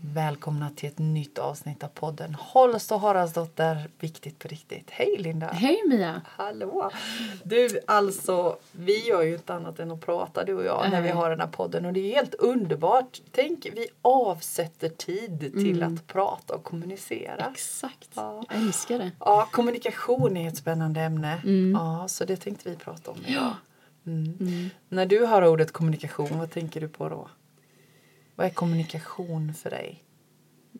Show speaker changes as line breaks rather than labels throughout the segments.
välkomna till ett nytt avsnitt av podden Holst och Haraldsdotter, viktigt på riktigt. Hej Linda!
Hej Mia!
Hallå! Du, alltså, vi gör ju inte annat än att prata du och jag när vi
Nej.
har den här podden och det är helt underbart. Tänk, vi avsätter tid till att prata och kommunicera.
Exakt.
Ja.
Jag älskar det.
Ja, kommunikation är ett spännande ämne.
Mm.
Ja, så det tänkte vi prata om idag. Mm.
Mm.
När du hör ordet kommunikation, vad tänker du på då? Vad är kommunikation för dig?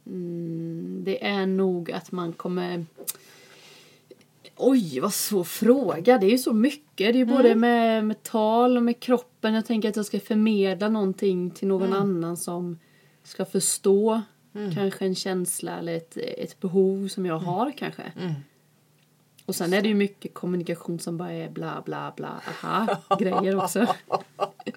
Mm, det är nog att man kommer... Oj, vad svår fråga. Det är ju så mycket. Det är ju både med, med tal och med kroppen. Jag tänker att jag ska förmedla någonting till någon annan som ska förstå kanske en känsla eller ett, ett behov som jag har kanske. Och sen är det ju mycket kommunikation som bara är bla bla bla aha-grejer också.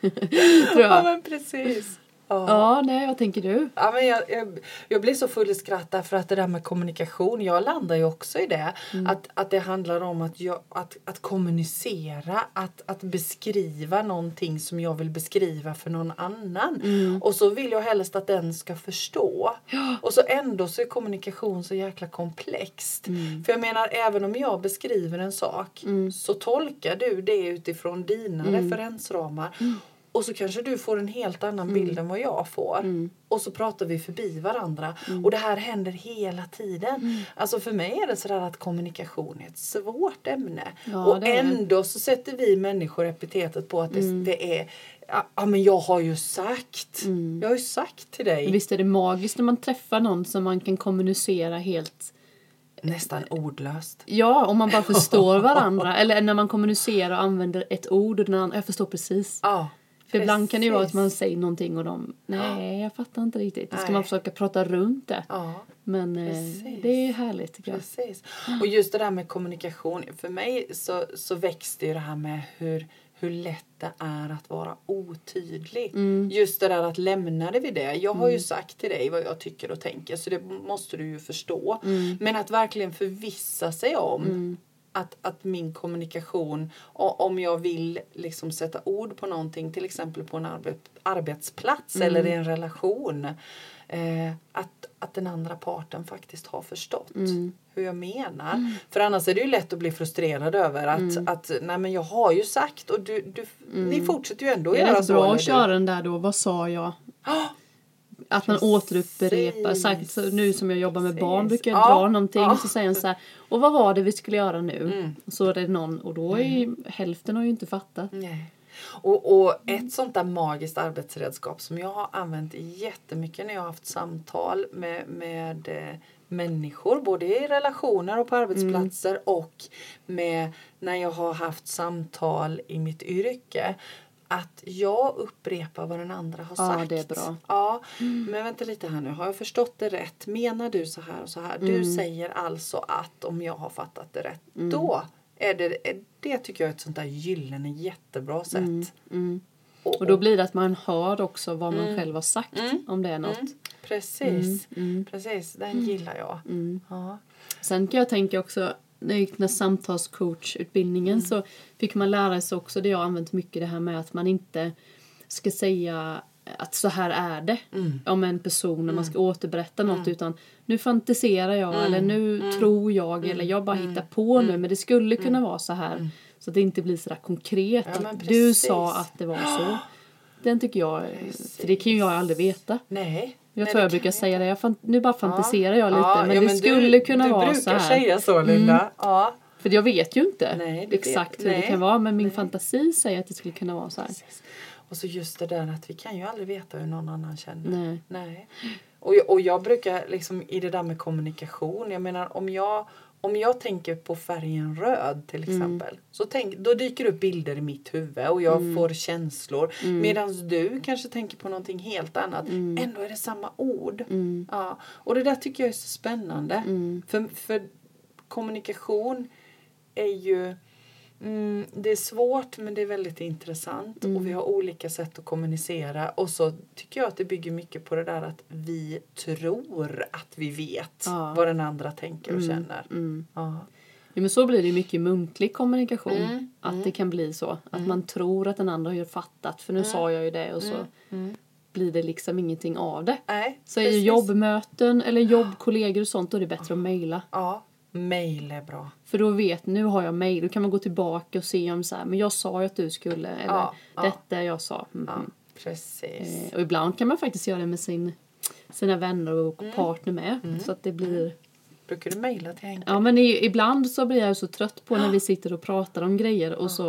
Tror
Ja,
jag.
men precis. Ja.
Ja, nej, vad tänker du?
Ja, men jag, jag, jag blir så full i skratt därför att det där med kommunikation, jag landar ju också i det. Att, att det handlar om att, jag, att, att kommunicera, att, att beskriva någonting som jag vill beskriva för någon annan. Och så vill jag helst att den ska förstå. Och så ändå så är kommunikation så jäkla komplext. För jag menar, även om jag beskriver en sak så tolkar du det utifrån dina referensramar. Och så kanske du får en helt annan
Mm.
bild än vad jag får. Och så pratar vi förbi varandra.
Mm.
Och det här händer hela tiden. Alltså för mig är det sådär att kommunikation är ett svårt ämne.
Ja,
och
det är det. Mm.
ändå så sätter vi människor epitetet på att det, det är Ja ja, men jag har ju sagt.
Mm.
Jag har ju sagt till dig.
Visst är det magiskt när man träffar någon som man kan kommunicera helt...
Nästan ordlöst.
Ja, om man bara förstår varandra. Eller när man kommunicerar och använder ett ord och den andra... Jag förstår precis.
Ja.
För ibland kan det ju vara att
precis.
man säger någonting och de... Nej, jag fattar inte riktigt. Då ska
Nej.
man försöka prata runt det.
Ja.
Men eh,
precis.
det är ju härligt tycker jag.
Precis. Och just det där med kommunikation. För mig så, så växte ju det här med hur, hur lätt det är att vara otydlig. Just det där att lämna det vid det. Jag har ju sagt till dig vad jag tycker och tänker så det måste du ju förstå. Men att verkligen förvissa sig om att, att min kommunikation, o- om jag vill liksom sätta ord på någonting, till exempel på en arbe, arbetsplats eller i en relation, eh, att, att den andra parten faktiskt har förstått
Mm.
hur jag menar. För annars är det ju lätt att bli frustrerad över att,
Mm.
att nej men jag har ju sagt och du, du, ni fortsätter ju ändå
Det
göra
Mm. är rätt
så.
bra
eller
att
du-
köra den där då. Vad sa jag?
Ah!
Att man återupprepar.
Precis.
Sagt, så nu som jag jobbar med barn
Precis.
brukar jag
Ja.
dra någonting
Ja. Mm.
och så säger han så här. Och vad var det vi skulle göra nu? Och så är det någon och då är ju, hälften har ju inte fattat.
Nej. Och, och ett sånt där magiskt arbetsredskap som jag har använt jättemycket när jag har haft samtal med, med eh, människor, både i relationer
Mm.
och på arbetsplatser och med när jag har haft samtal i mitt yrke. Att jag upprepar vad den andra har
Ja,
sagt.
det är bra.
Ja, men vänta lite här nu. Har jag förstått det rätt? Menar du så här och så här? Du
Mm.
säger alltså att om jag har fattat det rätt, då är det, är- det tycker jag är ett sånt där gyllene jättebra sätt.
Mm.
Och,
Och då blir det att man hör också vad man själv har sagt om det är något.
mm, precis,
Mm.
precis, den gillar jag. Ja.
Sen kan jag tänka också, när jag gick den här samtalscoachutbildningen
Mm.
så fick man lära sig också det jag har använt mycket det här med att man inte ska säga att så här är det
Mm.
om en person när man ska återberätta något utan nu fantiserar jag eller
Mm.
nu tror jag eller jag bara hittar på nu men det skulle kunna vara så här så att det inte blir så där konkret
Mm. Ja, men
att du
precis.
sa att det var så. Den tycker jag, för det kan ju jag aldrig veta.
Nej.
Jag
Nej,
tror
det
jag brukar
kan
säga det. Jag fan, nu bara fantiserar jag lite.
Ja,
men
ja,
det
du-
skulle kunna
du
vara
brukar
så här. Mm.
säga så, Linda. Ja.
För jag vet ju inte
Nej, du
exakt
vet-
hur
nej.
det kan vara. Men min fantasi säger att det skulle kunna vara så här.
Precis. Och så just det där att vi kan ju aldrig veta hur någon annan känner.
Nej.
Och, jag, och jag brukar liksom i det där med kommunikation, jag menar om jag om jag tänker på färgen röd till exempel så tänk, då dyker det upp bilder i mitt huvud och jag får känslor. Medan du kanske tänker på någonting helt annat. Ändå är det samma ord. Ja. Och det där tycker jag är så spännande. För, för kommunikation är ju... Mm, det är svårt men det är väldigt intressant och vi
Mm.
har olika sätt att kommunicera. Och så tycker jag att det bygger mycket på det där att vi tror att vi vet
Ja. Mm,
vad den andra tänker och känner. Ja.
Ja, men så blir det ju mycket i muntlig kommunikation.
Mm, Mm.
Att det kan bli så. Att man tror att den andra har ju fattat. För nu sa jag ju det och så blir det liksom ingenting av det.
Nej,
Så är ju
precis. Ah.
jobbmöten eller jobbkollegor och sånt, då är det bättre att mejla.
Ja, mail är bra.
För då vet nu har jag mejl, då kan man gå tillbaka och se om så här, men jag sa ju att du skulle, eller
Ja, ja.
detta jag sa. Mm.
Ja, precis.
Eh, Och ibland kan man faktiskt göra det med sin, sina vänner och partner med. Så att det blir...
Brukar du mejla till Henke?
Ja men i, ibland så blir jag så trött på när vi sitter och pratar om grejer och så...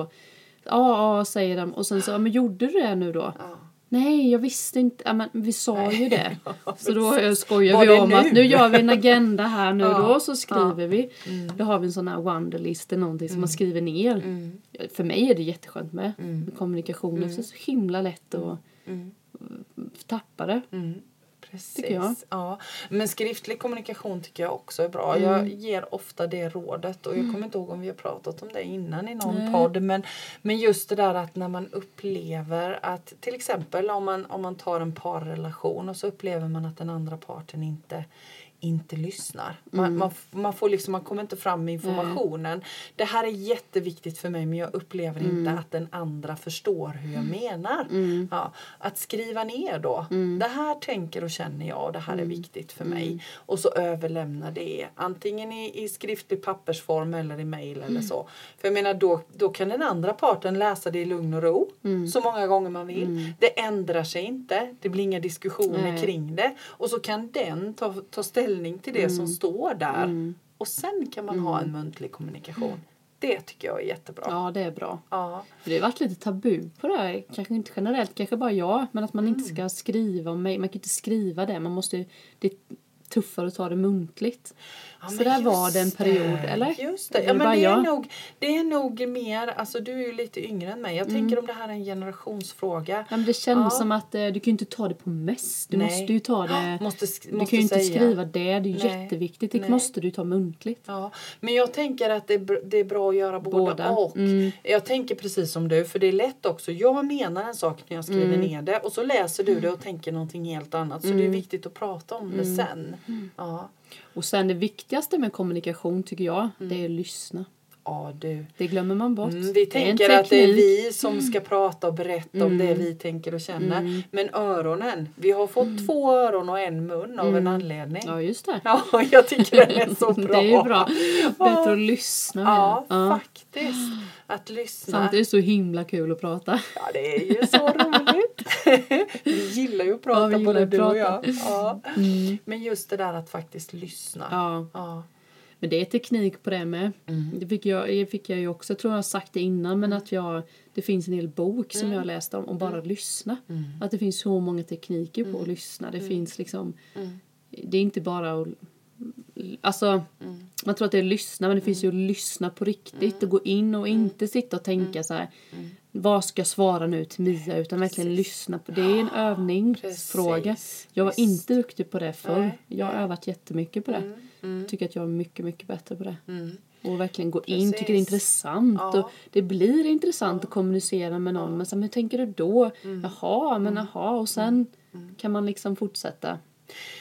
Ja, ja, säger de. Och sen så, ja men gjorde du det nu då?
Ja.
Nej, jag visste inte. Ja, men vi sa ju det. Så då eh,
Var
skojar vi
det
om
nu?
att nu gör vi en agenda här nu
Ja, Mm.
då och så skriver vi. Då har vi en sån här wonderlist eller någonting som man skriver ner. För mig är det jätteskönt med,
Mm.
med kommunikationen. Så det är så himla lätt att tappa det.
Mm, precis.
Tycker jag.
Ja. Men skriftlig kommunikation tycker jag också är bra.
Mm.
Jag ger ofta det rådet och jag kommer inte ihåg om vi har pratat om det innan i någon
Nej.
podd. Men, men just det där att när man upplever att till exempel om man, om man tar en parrelation och så upplever man att den andra parten inte inte lyssnar. Man, man, f- man, får liksom, man kommer inte fram med informationen. Det här är jätteviktigt för mig men jag upplever inte att den andra förstår hur jag menar. Ja, att skriva ner då. Det här tänker och känner jag och det här är viktigt för mig. Och så överlämna det antingen i, i skriftlig pappersform eller i mejl eller så. För jag menar då, då kan den andra parten läsa det i lugn och ro så många gånger man vill. Det ändrar sig inte. Det blir inga diskussioner
Nej.
kring det. Och så kan den ta, ta ställning till det
Mm.
som står där. Och sen kan man ha en muntlig kommunikation. Det tycker jag är jättebra. Ja.
Ja, det är bra. För det har varit lite tabu på det här, kanske inte generellt, kanske bara jag, men att man
Mm.
inte ska skriva om mig. Man kan ju inte skriva det, man måste ju, det är tuffare att ta det muntligt.
Ja,
så
men
där var
just
det en period,
det,
eller?
Just det.
Eller
Ja, men
bara
det, är
jag?
nog, det är nog mer, alltså du är ju lite yngre än mig. Jag tänker om det här är en generationsfråga.
Mm. Ja, men det känns
Ja.
som att eh, du kan ju inte ta det på mess. Du
Nej.
måste ju ta det...
Måste sk-
du
måste
kan ju inte
säga.
skriva det, det är ju
Nej.
jätteviktigt. Det
Nej.
måste du ta muntligt.
Ja, men jag tänker att det är, br- det är bra att göra båda,
Båda.
och.
Mm.
Jag tänker precis som du, för det är lätt också. Jag menar en sak när jag skriver
Mm.
ner det och så läser du det och tänker någonting helt annat. Så det är viktigt att prata om det
Mm.
sen. Ja.
Och sen det viktigaste med kommunikation tycker jag, det är att lyssna.
ja, du.
Det glömmer man bort.
Mm,
Det är
vi
en
tänker att det är
teknik. Mm.
vi som ska prata och berätta om det vi tänker och känner. Men öronen, vi har fått två öron och en mun av en anledning.
Mm. Ja, just det.
Ja, jag tycker den är så bra.
Det är ju bra. Bättre
Ja.
att lyssna.
Ja,
menar jag.
faktiskt. Att lyssna.
Samtidigt är det så himla kul att prata.
Ja, det är ju så roligt. vi gillar ju att
Ja,
prata
vi gillar
både
att
du och
prata.
jag.
Mm.
Ja. Men just det där att faktiskt lyssna.
Ja.
Ja.
Men det är teknik på det med. Det fick jag, det fick jag ju också, jag tror jag har sagt det innan, men att jag, det finns en hel bok som jag har läst om, om bara lyssna. Att det finns så många tekniker på att lyssna. Det finns liksom, det är inte bara att Alltså, man tror att det är att lyssna, men det finns ju att lyssna på riktigt och gå in och inte sitta och tänka så här. Vad ska jag svara nu till Mia? Utan verkligen lyssna på. Det är en övningsfråga.
precis.
Jag var inte duktig på det förr.
Nej, Mm,
Jag har övat jättemycket på det. Tycker att jag är mycket, mycket bättre på det. Och verkligen gå in,
Precis.
tycker det är intressant.
Ja.
Och det blir intressant att kommunicera med någon. Men så, här, men hur tänker du då?
Mm.
Jaha, men jaha. Och sen kan man liksom fortsätta.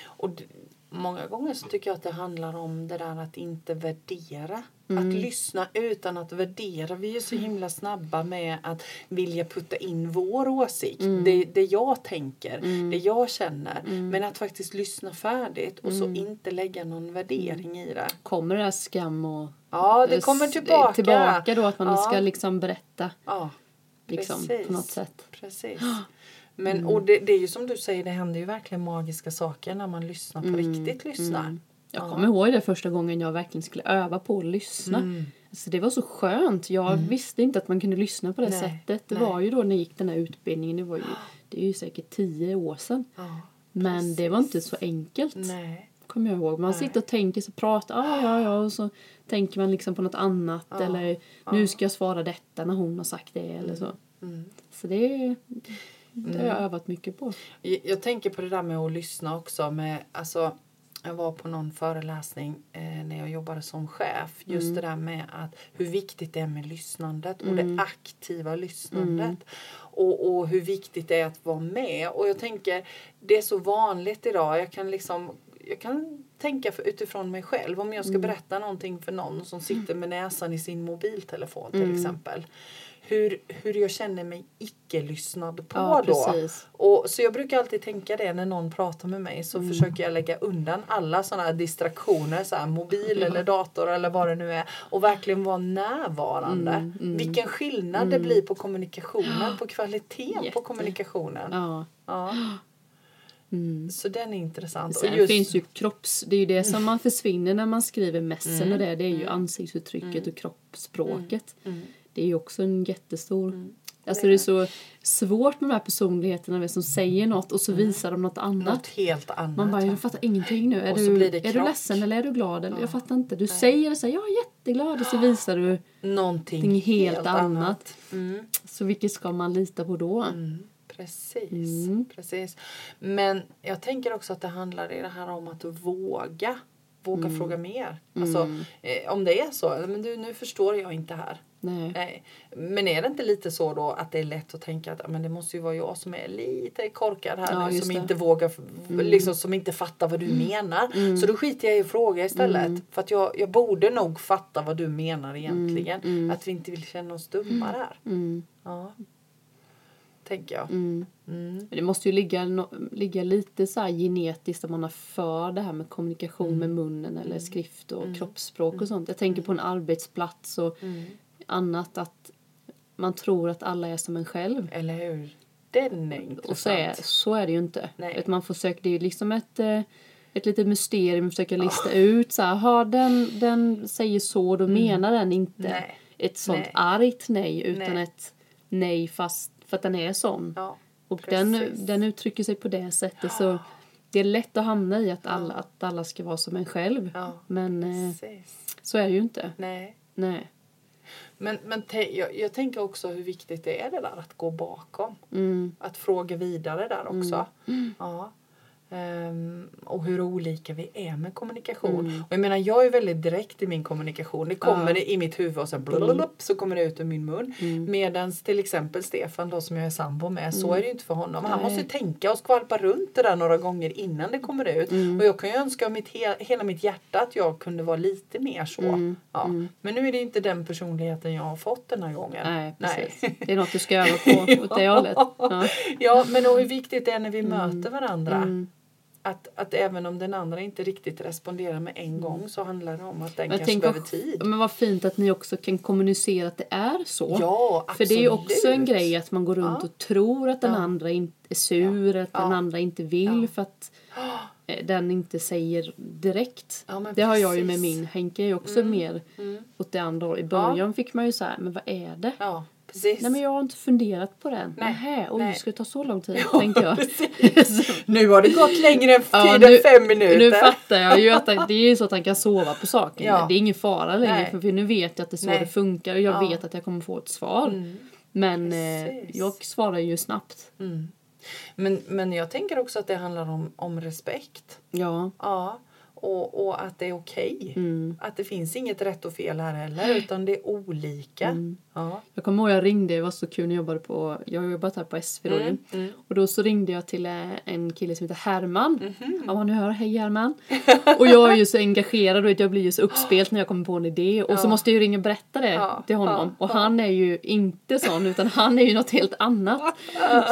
Och d- många gånger så tycker jag att det handlar om det där att inte värdera.
Mm.
Att lyssna utan att värdera. Vi är ju så himla snabba med att vilja putta in vår åsikt.
Mm.
Det, det jag tänker, det jag känner. Men att faktiskt lyssna färdigt och
Mm.
så inte lägga någon värdering i det.
Kommer det här skam och
Ja, det kommer
Eh, s-
tillbaka.
tillbaka då att man
ja.
ska liksom berätta
Ja,
liksom,
precis.
på något sätt. Mm.
Precis. Men, och det, det är ju som du säger, det händer ju verkligen magiska saker när man lyssnar
Mm.
på riktigt. lyssnar.
Jag kommer ihåg det första gången jag verkligen skulle öva på att lyssna.
Mm.
Alltså det var så skönt. Jag visste inte att man kunde lyssna på det
Nej,
sättet. Det
nej.
var ju då när jag gick den här utbildningen, det, var ju, det är ju säkert tio år sedan.
Ja,
Men det var inte så enkelt.
nej.
Kommer jag ihåg. Man sitter och tänker så pratar, ah, ja, ja, och så tänker man liksom på något annat eller nu ska jag svara detta när hon har sagt det eller så.
Mm.
Så det, det har jag övat mycket på.
Jag jag tänker på det där med att lyssna också. Med, alltså, jag var på någon föreläsning eh, när jag jobbade som chef. Just
Mm.
det där med att hur viktigt det är med lyssnandet och
Mm.
det aktiva lyssnandet. Och, och hur viktigt det är att vara med. Och jag tänker, det är så vanligt idag. Jag kan liksom jag kan tänka för, utifrån mig själv
Mm. Mm.
om jag ska berätta någonting för någon som sitter med näsan i sin mobiltelefon till exempel. hur, hur jag känner mig icke-lyssnad på
Ja,
då.
precis.
Och, så jag brukar alltid tänka det när någon pratar med mig
Mm.
så försöker jag lägga undan alla sådana här distraktioner, så här mobil eller dator eller vad det nu är och verkligen vara närvarande.
Mm,
Vilken skillnad det blir på kommunikationen, på kvaliteten på
Jätte.
kommunikationen.
Ja. Mm.
Ja. Så den är intressant.
Sen finns ju kropps... Det är ju det som man försvinner när man skriver messen
Mm.
och det. Det är ju ansiktsuttrycket och kroppsspråket.
Mm.
Det är ju också en jättestor... Alltså det är så svårt med de här personligheterna som säger något och så visar de något annat.
Mm. något helt annat.
Man bara, jag fattar ingenting nu. Är,
Och
du,
så blir det
är du
krock.
ledsen eller är du glad? Eller, jag fattar inte. Du säger så här, jag är jätteglad och så visar du
Någonting
någonting helt, annat.
Mm.
Så vilket ska man lita på då?
Mm, Precis, precis. Men jag tänker också att det handlar i det här om att våga. Våga fråga mer. Alltså, eh, om det är så, men du, nu förstår jag inte här.
Nej.
Nej. Men är det inte lite så då att det är lätt att tänka att ja, men det måste ju vara jag som är lite korkad här
Ja,
nu,
just
som
det. Mm.
inte vågar, liksom, som inte fattar vad du menar. Så då skiter jag i att fråga istället.
Mm.
För att jag, jag borde nog fatta vad du menar egentligen. Att vi inte vill känna oss dumma där.
Mm.
Ja. Tänker jag.
Mm.
Mm.
Men det måste ju ligga, no- ligga lite så här genetiskt om man har för det här med kommunikation med
Mm.
munnen eller skrift och kroppsspråk och sånt. Jag tänker på en arbetsplats och
Mm.
annat att man tror att alla är som en själv.
Eller hur? Den är intressant.
Och så är, så är det ju inte.
Nej.
Att man försöker, det är ju liksom ett, eh, ett litet mysterium att försöka lista ut. Så här, "Jaha, den, den säger så, då menar den inte
Mm. Nej.
ett sånt
Nej.
argt nej utan
Nej.
ett nej fast för att den är sån.
Ja,
Och den,
precis.
den uttrycker sig på det sättet. Så det är lätt att hamna i att alla, att alla ska vara som en själv.
Ja.
Men eh,
Precis.
så är det ju inte.
Nej.
Nej.
Men, men te, jag, jag tänker också hur viktigt det är det där att gå bakom.
Mm.
Att fråga vidare där också. Ja. Ehm, och hur olika vi är med kommunikation. Och jag menar, jag är väldigt direkt i min kommunikation. Det kommer det i mitt huvud och sen blablabla, så kommer det ut ur min mun. Medan till exempel Stefan då som jag är sambo med, så är det ju inte för honom. Han
Nej.
måste ju tänka och skvalpa runt det där några gånger innan det kommer ut.
Mm.
Och jag kan ju önska av mitt he- hela mitt hjärta att jag kunde vara lite mer så.
Mm,
Ja. Men nu är det inte den personligheten jag har fått den här gången.
Nej, precis. Det är något du ska öva på åt det hållet. Ja. Mm.
Ja, men och hur viktigt det är när vi möter varandra. Att, att även om den andra inte riktigt responderar med en gång så handlar det om att den
Mm. Men
kanske
tänk
behöver
vad,
tid.
men vad fint att ni också kan kommunicera att det är så.
Ja, absolut.
För det är ju också en grej att man går runt och tror att den
Ja.
andra inte är sur, att den
Ja.
andra inte vill för att eh, den inte säger direkt.
Ja,
det
men
har jag ju med
precis. Mm.
min. Henke är ju också mer åt det andra hållet. I början fick man ju så här, men vad är det?
Ja, precis.
Nej men jag har inte funderat på det än.
Nej,
Nähä, oj
nej.
ska det ta så lång tid? tänkte jag.
Nu har det gått längre än
Ja,
tid än
nu-
fem minuter.
Nu fattar jag ju att han- det är ju så att han kan sova på saken.
Ja.
Det är ingen fara längre
Nej.
för, för nu vet jag att det är så
Nej.
det funkar och jag
Ja. Mm.
vet att jag kommer få ett svar. Men eh,
Precis.
jag svarar ju snabbt.
Mm. men, men jag tänker också att det handlar om, om respekt.
Ja. Mm.
Ja, och, och att det är okej. Att det finns inget rätt och fel här heller utan det är olika.
Mm.
Ja.
Jag kommer ihåg jag ringde, det var så kul när jag jobbade på, jag har jobbat här på SV då
Mm,
ju. Och då så ringde jag till eh, en kille som heter Herman.
Mhm.
Ja man hör, hej Herman. och jag är ju så engagerad och jag blir ju så uppspelt när jag kommer på en idé. Och så måste jag ju ringa och berätta det
Ja,
till honom. Och han är ju inte sån utan han är ju något helt annat.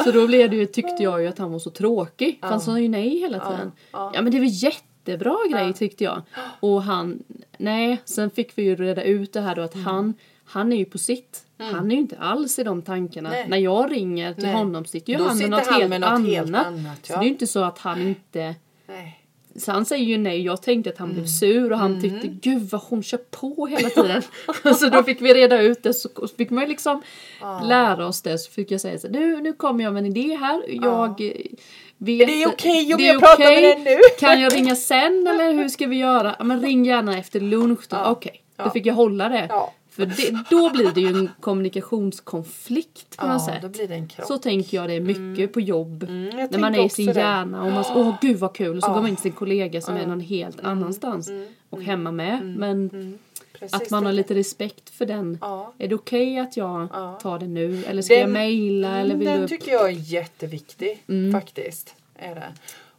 så då blev det ju, tyckte jag ju att han var så tråkig. För han sa ju nej hela tiden. Ja, men det är väl jätte jättebra grej tyckte jag. Och han, nej, sen fick vi ju reda ut det här då att
Mm.
han, han är ju på sitt. Han är ju inte alls i de tankarna.
Nej.
När jag ringer till
Nej.
honom sitter ju
Då
han med
sitter
något,
han
helt,
med
annat.
något helt annat,
Så
ja.
det är ju inte så att han inte
Nej.
så han säger ju nej, jag tänkte att han
Mm.
blev sur och han tyckte gud vad hon kör på hela tiden. så då fick vi reda ut det så så fick man ju liksom lära oss det så fick jag säga så här, nu, nu kommer jag med en idé här, jag eh, vet.
Det är okej om
det
jag pratar med
okej.
dig nu."
kan jag ringa sen eller hur ska vi göra? Ja, men ring gärna efter lunch då, okej. Då fick jag hålla det.
Ja.
För det, då blir det ju en kommunikationskonflikt på något
Ja,
sätt.
då blir det en krock.
Så tänker jag det är mycket på jobb.
Mm. jag
när man
tänker
är i sin
också det. Ah.
hjärna och man s- åh gud vad kul och så går man in till sin kollega som är någon helt
Mm,
annanstans och hemma med. Men
Precis
att man har
det.
lite respekt för den.
Ja.
Är det okej att jag
Ja.
tar det nu eller ska jag
Ah. Den-
mejla eller vill
Den
du? Mm.
tycker jag är jätteviktig faktiskt. Är det.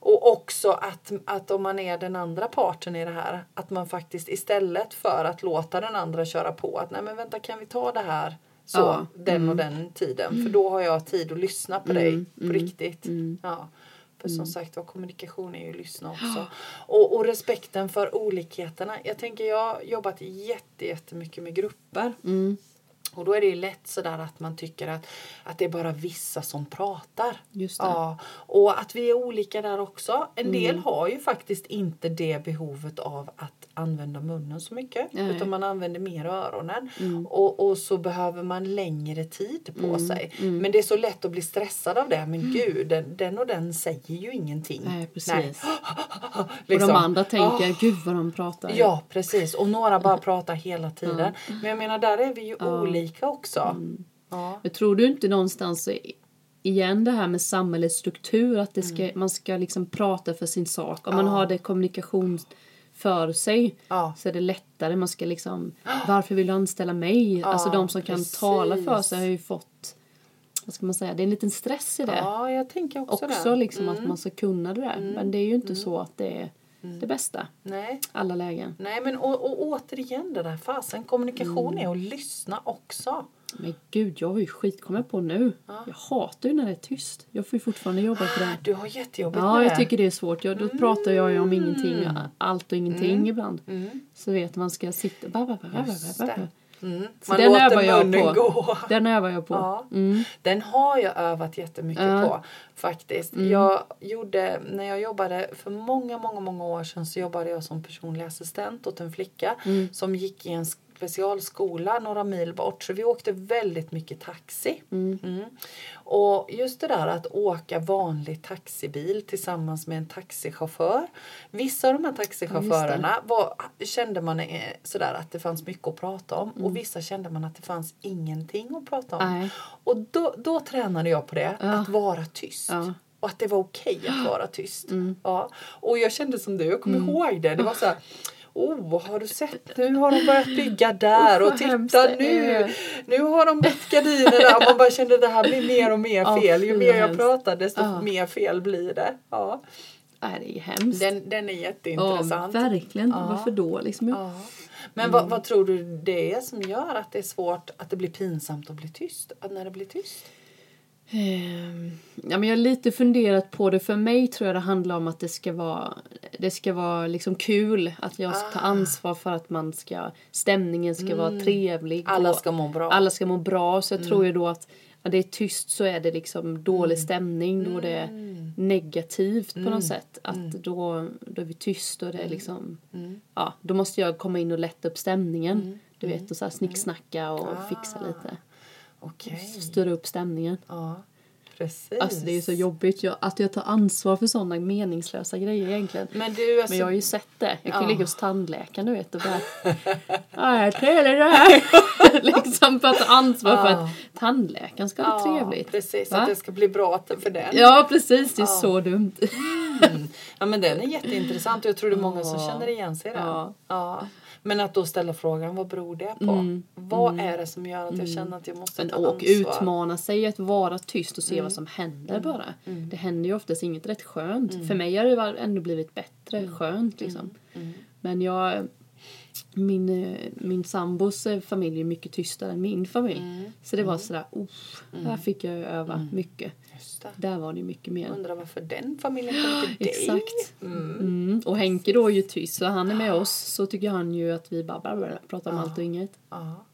Och också att, att om man är den andra parten i det här att man faktiskt istället för att låta den andra köra på att nej men vänta kan vi ta det här så,
Ja, Mm.
den och den tiden. För då har jag tid att lyssna på dig på riktigt.
Mm.
Ja. För som sagt var, kommunikation är ju att lyssna också. Och, och respekten för olikheterna. Jag tänker, jag har jobbat jätte, jättemycket med grupper.
Mm.
Och då är det ju lätt sådär att man tycker att, att det är bara vissa som pratar.
Just det. Mm.
Ja, och att vi är olika där också. En del har ju faktiskt inte det behovet av att använda munnen så mycket.
Nej. Mm.
Utan man använder mer öronen. Och, och så behöver man längre tid på sig.
Mm.
Men det är så lätt att bli stressad av det. Men gud, den, den och den säger ju ingenting.
Nej, precis.
Liksom.
Och de andra
Ah.
tänker, gud vad de pratar.
Ja, precis. Och några bara pratar hela tiden.
Mm.
Men jag menar, där är vi ju olika också. Ja.
Men tror du inte någonstans i- igen det här med samhällets struktur att det ska,
Mm.
man ska liksom prata för sin sak. Om man har det kommunikation för sig
Ja. Ah!
så är det lättare. Man ska liksom, varför vill du anställa mig? alltså de som kan tala för
precis.
sig har ju fått, vad ska man säga, det är en liten stress i det.
ja, Mm. jag tänker också,
Också
det.
liksom att man ska kunna det där. Men det är ju inte
Mm.
så att det är det bästa.
Nej.
Alla lägen.
Nej, men och, och återigen det där fasen. Kommunikation
Mm.
är att lyssna också.
Men gud, jag har ju skit kommit på nu. Jag hatar ju när det är tyst. Jag får ju fortfarande jobba på det.
Du har jättejobbigt
Ja,
med
jag
det. Mm.
tycker det är svårt. Jag, då pratar jag ju om ingenting, allt och ingenting ibland. Så vet man ska jag sitta... Ba, ba, ba, ba, ba, ba, ba.
det. Mm.
Så
Man
den övar
låter
jag
munnen
på.
gå.
Den övar jag på.
Ja. Den har jag övat jättemycket på faktiskt. Jag gjorde, när jag jobbade för många, många, många år sedan så jobbade jag som personlig assistent åt en flicka som gick i en specialskola några mil bort. Så vi åkte väldigt mycket taxi. Mm. Och just det där att åka vanlig taxibil tillsammans med en taxichaufför. Vissa av de här taxichaufförerna var, Äh, kände man eh, sådär att det fanns mycket att prata om och vissa kände man att det fanns ingenting att prata om.
Mm. Nej.
Och då, då tränade jag på det, att vara tyst.
Ja. Mm.
Och att det var okej att vara tyst. Ja. Och jag kände som du, jag kommer ihåg det. Det var så här, oh har du sett, nu har de börjat bygga där
Usch,
och
vad hemskt
titta
det
nu,
är."
nu har de bytt gardinerna. Och man bara kände det här blir mer och mer
Ja,
fel. Ju
fy,
mer
vad
jag
hemskt.
pratar desto
Ja.
mer fel blir det. Ja.
Nej, Äh, det är ju hemskt.
Den, den är
ja,
jätteintressant.
verkligen.
Ja.
Varför då? Liksom, jag,
Ja. Men vad, vad tror du det är som gör att det är svårt, att det blir pinsamt att bli tyst? Att när det blir tyst?
Ehm, ja, men jag har lite funderat på det. För mig tror jag det handlar om att det ska vara, det ska vara liksom kul. Att jag
Ah.
ska ta ansvar för att man ska, stämningen ska vara trevlig.
Mm. Alla
och-
ska må bra. Mm.
alla ska må bra. Så jag tror ju då att när det är tyst så är det liksom dålig stämning. Då det är
Mm.
negativt på något sätt. Att då, då är vi tyst och det
Mm.
är liksom... Ja, då måste jag komma in och lätta upp stämningen.
Mm.
Du vet, och så här snicksnacka och fixa lite.
Ah, Okej.
Styra upp stämningen.
Ja, precis.
Alltså det är ju så jobbigt jag, att jag tar ansvar för sådana meningslösa grejer egentligen.
Men du, alltså,
Men jag har ju sett det. Jag kan ju
Ja.
ligga hos tandläkaren du vet och bara... Ja, jag trevlig det här. liksom för att ta ansvar för att tandläkaren ska ha det
ja,
trevligt.
Precis,
Va?
att det ska bli bra att- för det.
Ja, precis. Det är så dumt.
Ja, men den är jätteintressant och jag tror det är många som känner igen sig i den.
Ja.
Ja. Men att då ställa frågan, vad beror det på? Vad är det som gör att jag känner att jag måste
Mm. Men
ta
och
ansvar? Mm.
utmana sig att vara tyst och se vad som händer bara. Det händer ju oftast inget rätt skönt.
Mm.
För mig har det var- ändå blivit bättre skönt liksom.
Mm.
Men jag... Min, eh, min sambos eh, familj är mycket tystare än min familj.
Mm.
Så det var sådär, oh, här fick jag ju öva mycket.
Just det.
Där var det ju mycket mer.
Undrar varför den familjen kom till dig?
Exakt. Mm. Och Henke då är ju tyst, så han är med
Ah.
oss så tycker han ju att vi bara, bara, bara pratar om allt och inget
Ja.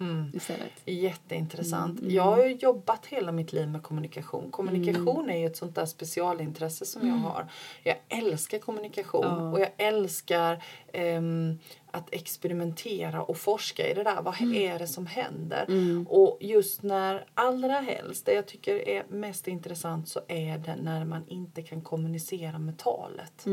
Mm.
istället.
Jätteintressant. Jag har ju jobbat hela mitt liv med kommunikation. Kommunikation är ju ett sånt där specialintresse som jag har. Jag älskar kommunikation och jag älskar ehm, att experimentera och forska i det där. Vad är det som händer? Och just när allra helst, det jag tycker är mest intressant så är det när man inte kan kommunicera med talet.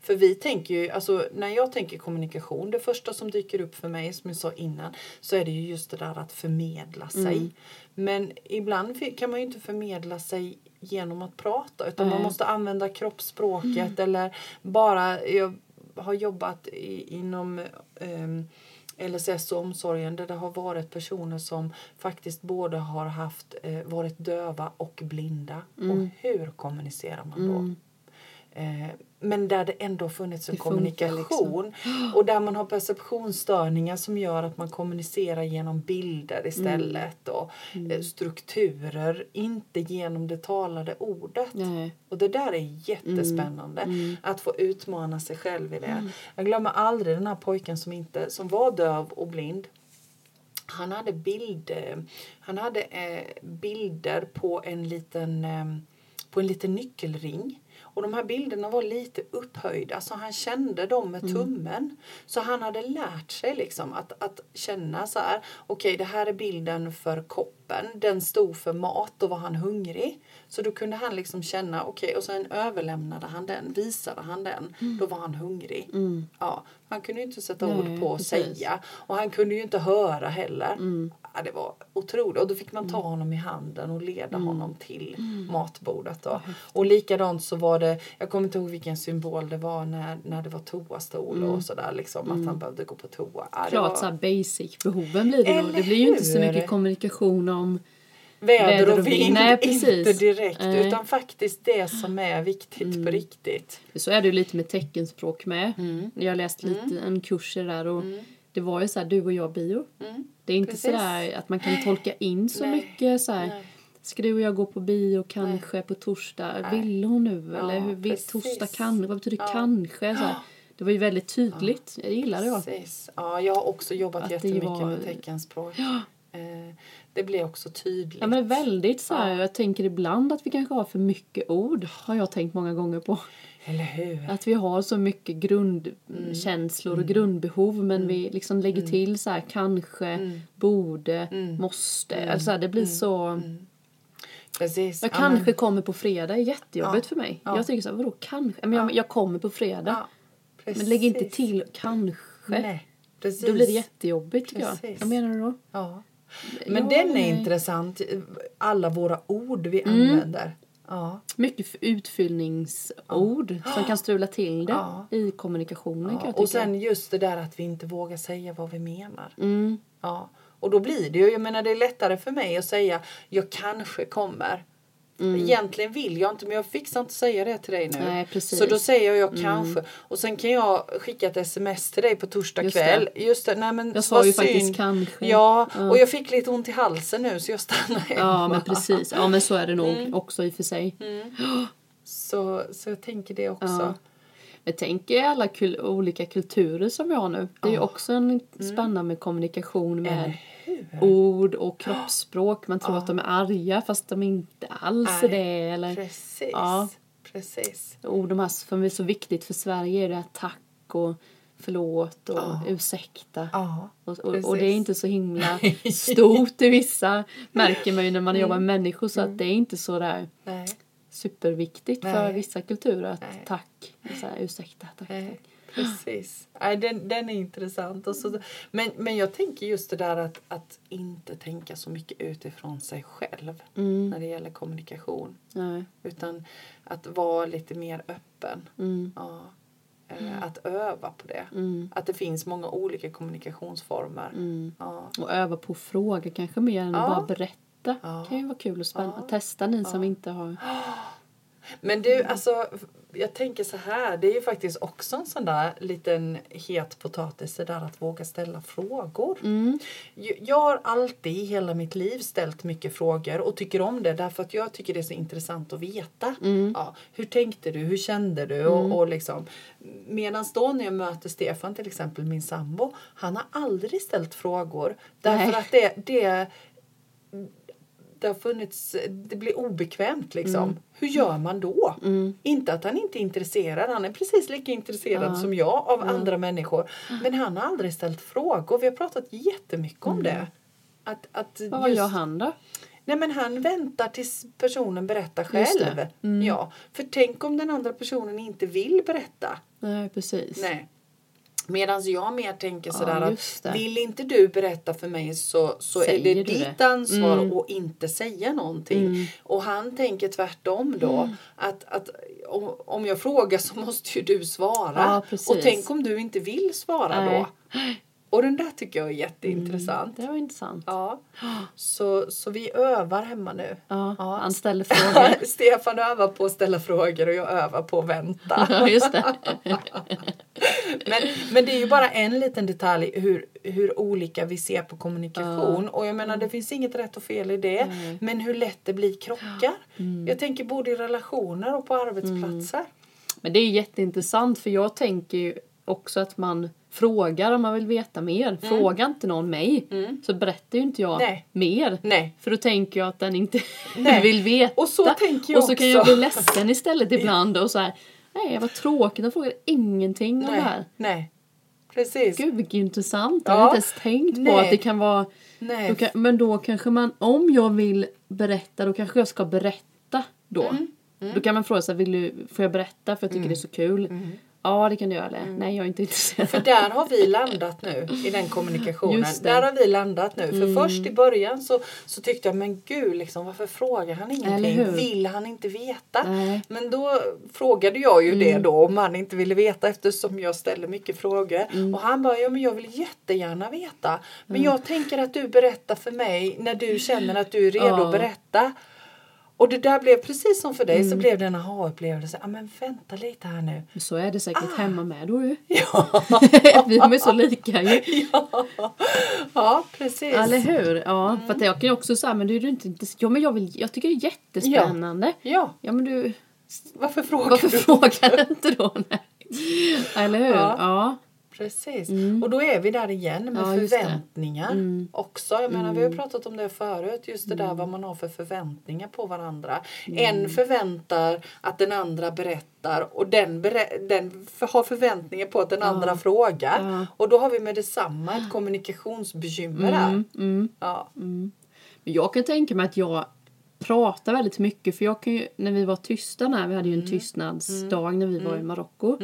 För vi tänker ju, alltså när jag tänker kommunikation, det första som dyker upp för mig som jag sa innan så är det ju just det där att förmedla sig. Men ibland fi- kan man ju inte förmedla sig genom att prata utan man
Nej.
måste använda kroppsspråket
Mm.
eller bara, jag har jobbat i, inom ehm, LSS och omsorgen där det har varit personer som faktiskt både har
Mm.
haft, eh, varit döva och blinda. Och hur kommunicerar man då? Eh, men där det ändå funnits en
Det funkar liksom.
kommunikation. Och där man har perceptionsstörningar som gör att man kommunicerar genom
Mm.
bilder istället och eh, strukturer, inte genom det talade ordet.
Nej.
Och det där är jättespännande, att få utmana sig själv i det. Jag glömmer aldrig den här pojken som, inte, som var döv och blind. Han hade, bild, eh, han hade eh, bilder på en liten, eh, på en liten nyckelring. Och de här bilderna var lite upphöjda, så han kände dem med
Mm.
tummen. Så han hade lärt sig liksom att, att känna så här. Okej, det här är bilden för koppen. Den stod för mat, då var han hungrig. Så då kunde han liksom känna, okej, och sen överlämnade han den, visade han den. Då var han hungrig. Ja, han kunde ju inte sätta
Mm. Nej,
ord på och
precis.
säga. Och han kunde ju inte höra heller.
Mm.
Ja, det var otroligt. Och då fick man ta honom i handen och leda
Mm.
honom till matbordet. Då. Och likadant så var det, jag kommer inte ihåg vilken symbol det var när, när det var toastol och sådär liksom. Att han behövde gå på toa. Ja, det
Mm. Klart
var
så här basic-behoven blir det då.
Eller
Det blir ju inte så
hur?
mycket kommunikation om
väder och vind,
Nej,
inte
precis.
direkt.
Nej. Mm.
Utan faktiskt det som är viktigt på riktigt.
Så är det ju lite med teckenspråk med.
Mm.
Jag läste lite en kurs i det där och det var ju så här du och jag bio. Det är inte
Mm. Precis.
sådär att man kan tolka in så
Nej.
mycket så här.
Nej.
Ska du och jag gå på bio kanske på torsdag? Vill hon nu? Eller hur vill
precis.
torsdag kan? Vad betyder kanske? Så här. Det var ju väldigt tydligt. Det gillade jag.
Precis. Ja, jag har också jobbat
Att det
jättemycket
var-
med teckenspråk. Eh, Det blir också tydligt.
Ja, men väldigt så här. Jag tänker ibland att vi kanske har för mycket ord. Har jag tänkt många gånger på.
Eller hur?
Att vi har så mycket grundkänslor
Mm.
och grundbehov men vi liksom lägger till så här kanske,
Mm.
borde, måste. Alltså det blir så...
Precis.
Jag
Mm. Ja, men-
kanske kommer på fredag är jättejobbigt för mig. Jag tycker så här, vadå kanske? Men jag, jag kommer på fredag.
Ja, precis.
men lägg inte till kanske.
Nej, precis.
Då blir det jättejobbigt tycker jag.
Precis.
Vad menar du då?
Ja. Men
Ja,
den är
nej. Mm.
intressant. Alla våra ord vi använder. Ja,
Mycket f- utfyllningsord som kan strula till det
Ja.
i kommunikationen kan
ja.
jag tycka.
Och sen just det där att vi inte vågar säga vad vi menar.
mm.
Ja. Och då blir det ju, jag menar det är lättare för mig att säga jag kanske kommer. Egentligen vill jag inte men jag fixar inte säga det till dig nu.
Mm. Nej, precis. Mm.
Så då säger jag kanske. Och sen kan jag skicka ett sms till dig på torsdag
Just det.
kväll. Just det, nej men
Jag sa
vad
ju
synd.
faktiskt kanske.
Ja, och jag fick lite ont i halsen nu så jag stannar hemma.
Ja men precis, ja men så är det nog
Mm.
också i och för sig.
Så, så jag tänker det också.
Men tänk er alla kul- olika kulturer som vi har nu. Det är ju också en
Mm.
spännande kommunikation med ord och kroppsspråk. Man tror att de är arga fast de inte alls är
Nej,
det. Eller,
Precis.
Ja.
Precis.
och de här som är så viktigt för Sverige är det här tack och förlåt och ursäkta.
Ja.
Och, och, och det är
precis.
inte så himla stort i vissa, märker man ju när man jobbar med människor, så
Mm.
att det är inte så där
Nej.
superviktigt för
Nej.
vissa kulturer att
Nej.
tack, så här, ursäkta, tack,
Nej,
tack.
precis. Nej, den, den är intressant. Och så, men, men jag tänker just det där att, att inte tänka så mycket utifrån sig själv
Mm.
när det gäller kommunikation.
Nej.
Utan att vara lite mer öppen.
Mm.
Ja. Eh, Att öva på det.
Mm.
Att det finns många olika kommunikationsformer.
Mm.
Ja.
Och öva på att fråga kanske mer än
Ja.
att bara berätta.
Ja.
kan ju vara kul och spännande. Testa ni som inte har...
Men du, alltså, jag tänker så här. Det är ju faktiskt också en sån där liten het potatis det där att våga ställa frågor. Jag- Jag har alltid i hela mitt liv ställt mycket frågor och tycker om det därför att jag tycker det är så intressant att veta. Ja, hur tänkte du? Hur kände du? Och, och liksom, Medan då när jag möter Stefan till exempel, min sambo, han har aldrig ställt frågor därför
Nej.
att det, det det har funnits, det blir obekvämt liksom.
Mm.
Hur gör man då? Inte att han inte är intresserad, han är precis lika intresserad som jag av andra människor.
Mm.
Men han har aldrig ställt frågor, vi har pratat jättemycket om det. Att, att
Mm. Vad var
just-
jag han då?
Nej men han väntar tills personen berättar
Just det. Mm.
själv. Ja, för tänk om den andra personen inte vill berätta.
Nej, precis.
Nej. Medan jag mer tänker sådär
just det.
att vill inte du berätta för mig så, så är
Säger
det
du
ditt
det? Mm.
ansvar att inte säga någonting. Och han tänker tvärtom då
Mm.
att, att om, om jag frågar så måste ju du svara.
Ja, precis.
och tänk om du inte vill svara
Nej. Mm.
då. Och den där tycker jag är jätteintressant.
Det var intressant.
Ja. Så, så vi övar hemma nu.
Ja,
Ja.
han ställer frågor.
Stefan övar på att ställa frågor och jag övar på att vänta.
Ja, just det.
Men, men det är ju bara en liten detalj hur, hur olika vi ser på kommunikation. Och jag
Mm.
menar det finns inget rätt och fel i det. Men hur lätt det blir krockar.
Mm.
Jag tänker både i relationer och på arbetsplatser.
Men det är jätteintressant för jag tänker ju också att man frågar om man vill veta mer. Fråga inte någon mig så berättar ju inte jag
Mm. Nej.
mer.
Nej.
För då tänker jag att den inte
Nej.
vill veta.
Och så tänker jag
Och så kan jag
också.
bli ledsen istället ibland och så här. Nej vad tråkigt, de frågar ingenting om det
Nej.
här.
Nej. Precis.
Gud vilket intressant, jag
Ja.
har inte ens tänkt på
Nej.
att det kan vara
Nej.
då kan, men då kanske man, om jag vill berätta, då kanske jag ska berätta då.
Mm.
Då kan man fråga sig, vill du, får jag berätta för jag tycker det är så kul?
Mm.
Ja, det kan du göra. Eller? Nej, jag är inte intresserad.
För där har vi landat nu i den kommunikationen.
Just det. Mm.
Där har vi landat nu. För först i början så, så tyckte jag men gud liksom varför frågar han
Eller hur?
ingenting? Vill han inte veta?
Nej. Mm.
Men då frågade jag ju det då om han inte ville veta eftersom jag ställer mycket frågor.
Mm.
Och han bara ja men jag vill jättegärna veta. Men jag tänker att du berättar för mig när du känner att du är redo
Ja.
att berätta. Och det där blev precis som för dig
Mm.
så blev det en aha-upplevelse. Ja men vänta lite här nu.
Men Så är det säkert hemma med då ju.
Ah. Ja.
Vi är så lika ju.
Ja, ja precis.
Eller hur? Ja,
Mm.
för att jag kan ju också säga, men du är du inte intresserad. Ja, men jag, vill, jag tycker det är jättespännande. Ja,
Ja,
men du,
varför frågar
varför
du?
frågar du inte då? Nej. Eller hur?
Ja.
Ja.
Precis. Och då är vi där igen med
Mm. Ja, just det. Mm.
förväntningar också. Jag menar, vi har ju pratat om det förut, just det där vad man har för förväntningar på varandra.
Mm.
En förväntar att den andra berättar och den, berä- den f- har förväntningar på att den andra frågar.
Ja.
Och då har vi med detsamma ett kommunikationsbekymmer där.
Mm.
Ja.
Men Jag kan tänka mig att jag pratar väldigt mycket för jag kan ju, när vi var tysta när, vi hade ju
Mm.
en tystnadsdag när vi var i Marocko.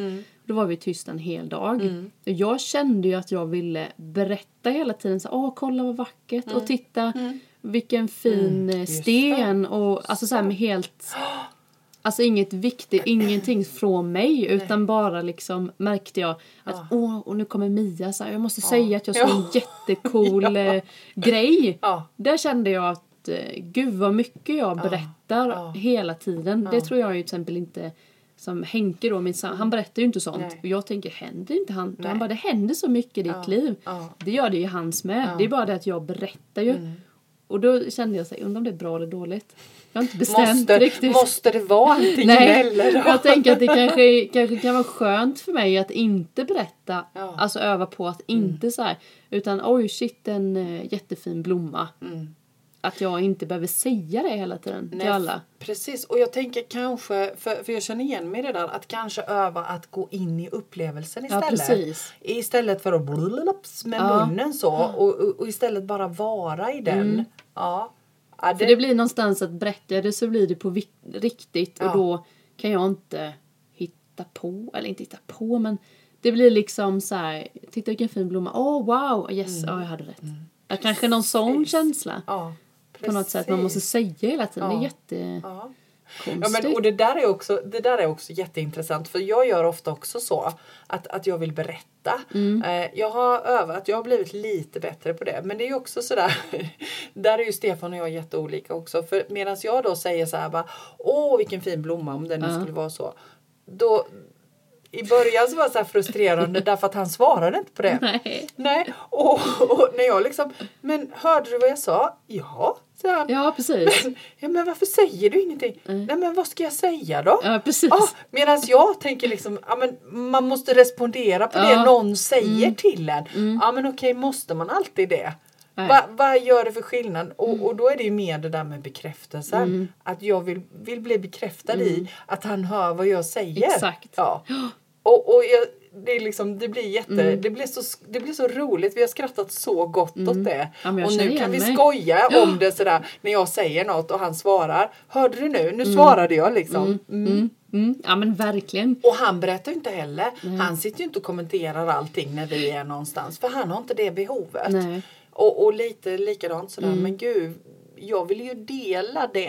Då var vi tysta en hel dag.
Mm.
Och jag kände ju att jag ville berätta hela tiden så åh kolla vad vackert
Mm.
och titta vilken fin eh,
Just
sten och alltså så här med helt Alltså inget viktigt, ingenting från mig utan bara liksom märkte jag att åh, och nu kommer Mia så här, jag måste säga att jag såg en
Ja.
jättecool eh, grej.
Ja.
Där kände jag att eh, gud vad mycket jag berättar
ja.
hela tiden. Det tror jag ju till exempel inte som Henke då, min son, han berättar ju inte sånt.
Nej.
Och jag tänker, händer inte han?
Nej.
Han bara, det händer så mycket i ditt liv.
ja. Mm.
Det gör det ju i hans med. Det är bara det att jag berättar ju. Och då kände jag så här, undrar om det är bra eller dåligt. Jag har inte bestämt
Måste,
riktigt.
måste det vara antingen
Nej,
eller?
jag tänker att det kanske, kanske kan vara skönt för mig att inte berätta,
Ja. Mm.
alltså öva på att inte så här, utan oj shit en eh, jättefin blomma.
Mm.
Att jag inte behöver säga det hela tiden till alla.
Precis, och jag tänker kanske, för, för jag känner igen mig redan, att kanske öva att gå in i upplevelsen
Ja,
istället.
precis.
Istället för att blululaps med
Ja. Mm.
munnen så och, och, och istället bara vara i den. Ja. Ja,
För det blir någonstans att berätta det så blir det på vi- riktigt och
Ja.
då kan jag inte hitta på, eller inte hitta på men det blir liksom så här, titta vilken fin blomma, åh oh, wow, yes, ja jag hade rätt. Ja, kanske någon sån
Mm. Precis.
känsla.
ja,
på något sätt. Man måste
precis.
säga hela tiden. Det är
Ja.
jättekonstigt.
Ja. Ja, men, och det, där är också, det där är också jätteintressant för jag gör ofta också så att, att jag vill berätta.
Mm.
Eh, jag har övat, jag har blivit lite bättre på det men det är ju också sådär, där är ju Stefan och jag jätteolika också för medan jag då säger så här bara åh vilken fin blomma om den nu skulle vara så. Då, i början så var det så här frustrerande därför att han svarade inte på det.
Nej.
Nej, och, och när jag liksom, men hörde du vad jag sa? Ja, sa han.
Ja, precis. Mm.
Men, ja, men varför säger du ingenting? Nej men vad ska jag säga då?
Ja, precis.
Ah, Medan jag tänker liksom, ja, men man måste respondera på
Ja. Mm.
det någon säger till en. Ja men okej, måste man alltid det?
Nej. Mm.
Va, vad gör det för skillnad? Och, och då är det ju mer det där med bekräftelsen. Att jag vill, vill bli bekräftad i att han hör vad jag säger.
Mm. Exakt.
Ja. Och, och jag, det, är liksom, det blir jätte,
Mm.
det, blir så, det blir så roligt. Vi har skrattat så gott åt det.
Mm. Ja, men jag
och
känner
nu
igen
kan vi
mig.
skoja skoja om det sådär när jag säger något och han svarar. Hörde du nu? Nu svarade jag liksom.
Mm. Mm. Ja, men verkligen.
Och han berättar ju inte heller.
Mm.
Han sitter ju inte och kommenterar allting när vi är någonstans för han har inte det behovet.
Nej. Mm.
Och, och lite likadant sådär, men gud, jag vill ju dela det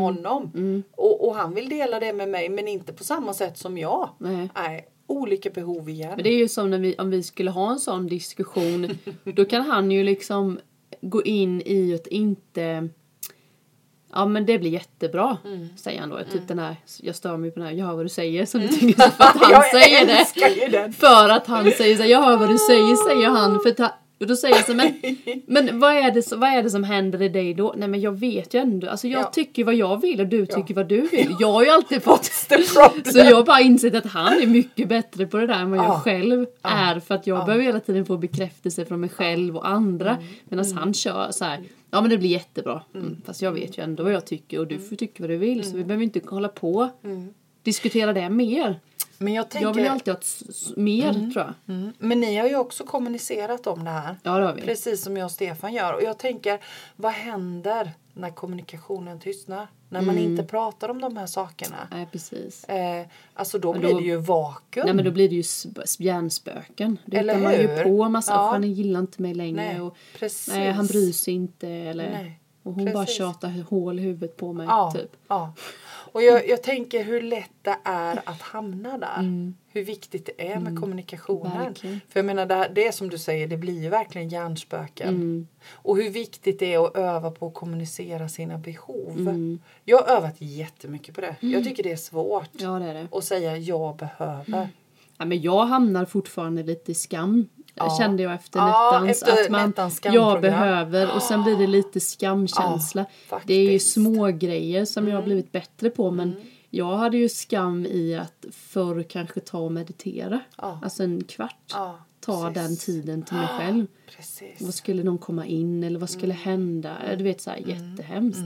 med honom. Och, och han vill dela det med mig men inte på samma sätt som jag.
Nej.
Nej. olika behov igen.
Men det är ju som när vi, om vi skulle ha en sån diskussion, då kan han ju liksom gå in i att inte... Ja men det blir jättebra,
Mm.
säger han då. Typ den här, jag stör mig på den här, jag hör vad du säger, som du tycker så för att han
Mm. jag
säger det.
älskar ju den!
För att han säger så här, jag hör vad du säger, säger han. För att han, och då säger jag så här, men, men vad, är det, som- vad är det som händer i dig då? Nej men jag vet ju ändå, alltså jag
Ja.
tycker vad jag vill och du tycker vad du vill. Jag har ju alltid fått
The problem.
så jag har bara insett att han är mycket bättre på det där än vad jag
Ja.
själv
Ah.
är för att jag behöver hela tiden få bekräftelse från mig själv och andra
Mm.
medan han kör så här. Ja men det blir jättebra. Mm. Fast jag vet ju ändå vad jag tycker och du
Mm.
får tycka vad du vill så vi behöver inte hålla på diskutera det mer.
Men jag Mm. tänker,
Jag vill ju alltid ha ett s- s- mer tror jag.
mm, men ni har ju också kommunicerat om det här.
Ja det har vi.
Precis som jag och Stefan gör. Och jag tänker, vad händer när kommunikationen tystnar? När man
Mm.
inte pratar om de här sakerna?
Nej precis.
Eh, alltså då,
Men
blir
då-
det ju vakuum.
Nej men då blir det ju sp- hjärnspöken. Då
Eller
hittar man ju
hur?
på massa,
Ja.
"Usch, han gillar inte mig längre.
Nej,
och,
precis.
nej han bryr sig inte. Eller,
Nej,
och hon bara
precis.
tjatar hål i huvudet på mig
ja,
typ.
ja. Och jag, jag tänker hur lätt det är att hamna där. Hur viktigt det är med kommunikationen.
Mm. verkligen.
För jag menar, det, det är som du säger, det blir ju verkligen hjärnspöken.
Mm.
Och hur viktigt det är att öva på att kommunicera sina behov.
Mm.
Jag har övat jättemycket på det. Jag tycker det är svårt.
Ja Mm. det är det.
och säga jag behöver.
Ja, men jag hamnar fortfarande lite i skam.
Ja.
Kände jag efter
Ja,
Nettans.
efter
att man,
Nettans
jag
skamprogram.
behöver. Och sen blir det lite skamkänsla.
Ja,
det är ju
faktiskt. Mm.
små grejer som jag har blivit bättre på. Men jag hade ju skam i att förr kanske ta och meditera.
Ja.
Alltså en kvart.
Ja,
ta
precis.
den tiden till mig själv. Vad
Precis.
skulle någon komma in eller vad
Mm.
skulle hända? Du vet såhär jättehemskt.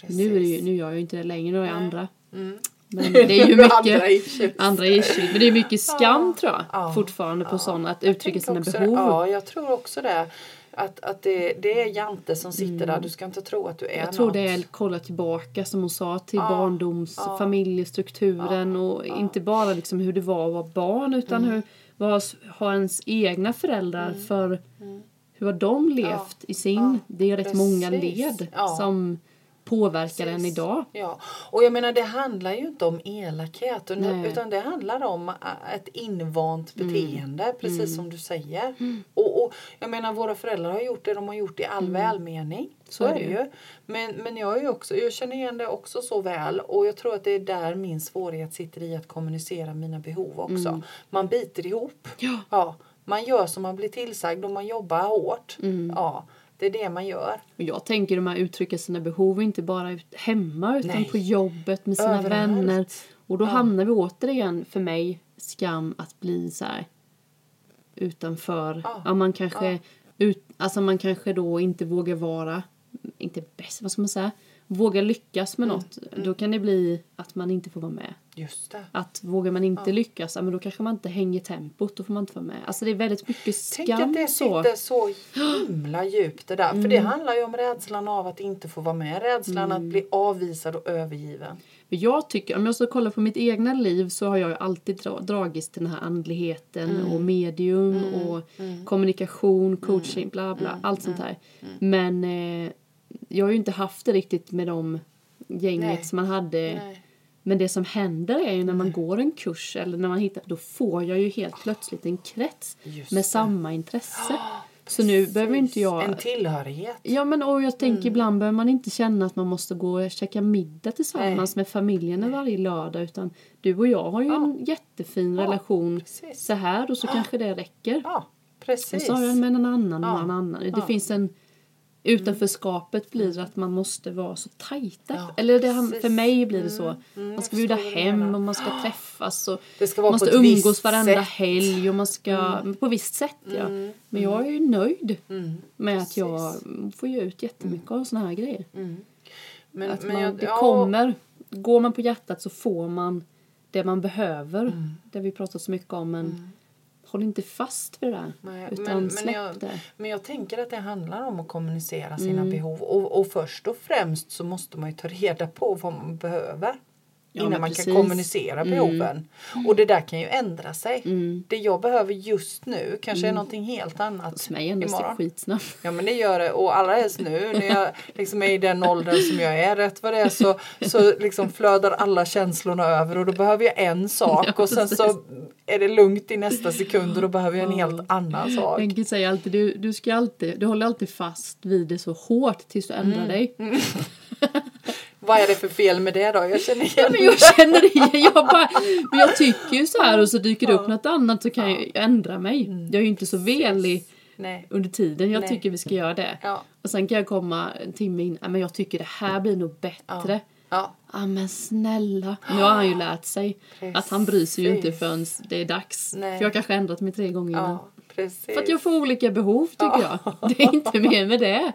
precis.
Nu, är det ju, nu gör jag ju inte det längre, nu är jag andra.
Mm.
Men det är ju mycket
Andra issues.
andra issues. Men det är mycket skam tror jag
Ja.
fortfarande på sådana att uttrycka
Tänk
sina
också
behov.
Det. Ja, jag tror också det. Att, att det, det är Jante som sitter där. Du ska inte tro att du är
Mm. Jag tror
något.
det är kolla tillbaka som hon sa till
Ja.
barndoms,
Ja.
familjestrukturen och inte bara liksom hur det var att vara barn utan
Mm.
hur vad har ens egna föräldrar för
Mm.
hur har de levt i sin? Det är rätt många
Precis.
led
Ja.
som påverkar en
Precis.
idag.
Ja. Och jag menar det handlar ju inte om elakhet utan,
Nej.
utan det handlar om ä, ett invant beteende precis som du säger. Och, och jag menar våra föräldrar har gjort det de har gjort det i all välmening. Mm. Så, är det ju. Men, men jag, är ju också, jag känner igen det också så väl och jag tror att det är där min svårighet sitter i att kommunicera mina behov också. Man biter ihop.
Ja.
Man gör som man blir tillsagd och man jobbar hårt. Ja, det är det man gör.
Och jag tänker de här uttrycka sina behov inte bara ut, hemma utan
Nej.
på jobbet med sina
Överallt.
vänner. Och då hamnar vi återigen för mig skam att bli så här utanför. Ja.
Ja.
man kanske ut, alltså man kanske då inte vågar vara inte bäst, vad ska man säga? Våga lyckas
Mm.
med något. Då kan det bli att man inte får vara med.
Just det.
Att vågar man inte lyckas, ja, men då kanske man inte hänger tempot, då får man inte vara med. Alltså det är väldigt mycket skam
Tänk att det
så. Mm.
sitter så himla djupt det där. För det handlar ju om rädslan av att inte få vara med. Rädslan att bli avvisad och övergiven.
Men jag tycker, om jag ska kolla på mitt egna liv så har jag ju alltid dra, dragits till den här andligheten
Mm.
och medium och kommunikation, coaching, bla bla,
Mm.
allt sånt här. Men eh, jag har ju inte haft det riktigt med de gänget
Nej.
som man hade.
Nej. Mm.
Men det som händer är ju när man går en kurs eller när man hittar, då får jag ju helt plötsligt en krets
Just
med samma intresse. så nu behöver inte jag...
En tillhörighet.
Ja men och jag tänker ibland behöver man inte känna att man måste gå och käka middag tillsammans med familjen varje lördag utan du och jag har ju en jättefin relation
precis.
så här och så kanske det räcker.
Ja,
och
precis.
så har jag med en annan och en annan. Det finns en utanförskapet blir att man måste vara så tajta.
Ja,
Eller det, har-
precis.
för mig blir det så. man ska bjuda
förstår vad du
hem
menar.
och man ska träffas och
Det ska vara
man
på
ska
ett visst
umgås varenda
sätt. Mm.
helg och man ska på ett visst sätt ja. Men jag är ju nöjd med att jag får ju ut jättemycket av såna här grejer.
Men,
Att
Mm. men
man,
jag-
det
ja,
kommer, går man på hjärtat så får man det man behöver.
Mm.
Det vi pratat så mycket om men håll inte fast vid det där.
nej,
utan
men,
släpp
men, jag,
det.
men jag tänker att det handlar om att kommunicera
Mm.
sina behov. Och, och först och främst så måste man ju ta reda på vad man behöver.
Ja,
innan
men
man kan
precis.
kommunicera behoven. Och det där kan ju ändra sig.
Mm.
Det jag behöver just nu kanske är någonting helt annat
Hos mig ändras det
imorgon.
skitsnabbt.
Ja men det gör det och allra helst nu när jag liksom är i den åldern som jag är rätt vad det är så, så liksom flödar alla känslorna över och då behöver jag en sak och sen så är det lugnt i nästa sekund och då behöver jag en helt annan sak.
Henke säger alltid, du, du, ska alltid, du håller alltid fast vid det så hårt tills du
Mm,
ändrar dig.
Vad är det för fel med det då? Jag känner igen
Men jag känner det igen. Jag bara, men jag tycker ju så här och så dyker det upp något annat så kan jag ju ändra mig. Jag är ju inte så vänlig
Nej.
under tiden jag
Mm, Nej.
tycker vi ska göra det.
Ja.
Och sen kan jag komma en timme in, "Nej, men jag tycker det här blir nog bättre. Ja.
Ja.
men snälla. Nu har han ju lärt sig att han bryr sig ju inte
Precis.
förrän det är dags.
Nej.
För jag har kanske ändrat mig tre gånger innan.
ja precis.
Mm. För att jag får olika behov tycker jag. Det är inte mer med det.